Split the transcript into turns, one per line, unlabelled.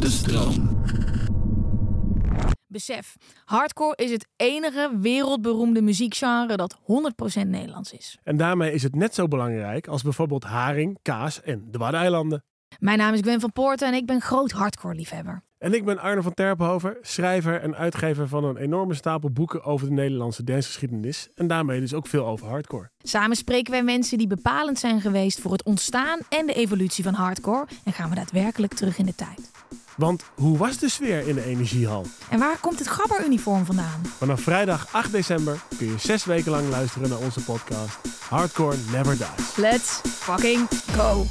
stroom.
Besef, hardcore is het enige wereldberoemde muziekgenre dat 100% Nederlands is.
En daarmee is het net zo belangrijk als bijvoorbeeld haring, kaas en de Waddeneilanden.
Mijn naam is Gwen van Poorten en ik ben groot hardcore liefhebber.
En ik ben Arno van Terpenhoven, schrijver en uitgever van een enorme stapel boeken over de Nederlandse dancegeschiedenis. En daarmee dus ook veel over hardcore.
Samen spreken wij mensen die bepalend zijn geweest voor het ontstaan en de evolutie van hardcore en gaan we daadwerkelijk terug in de tijd.
Want hoe was de sfeer in de Energiehal?
En waar komt het gabberuniform vandaan?
Vanaf vrijdag 8 december kun je zes weken lang luisteren naar onze podcast Hardcore Never Dies.
Let's fucking go!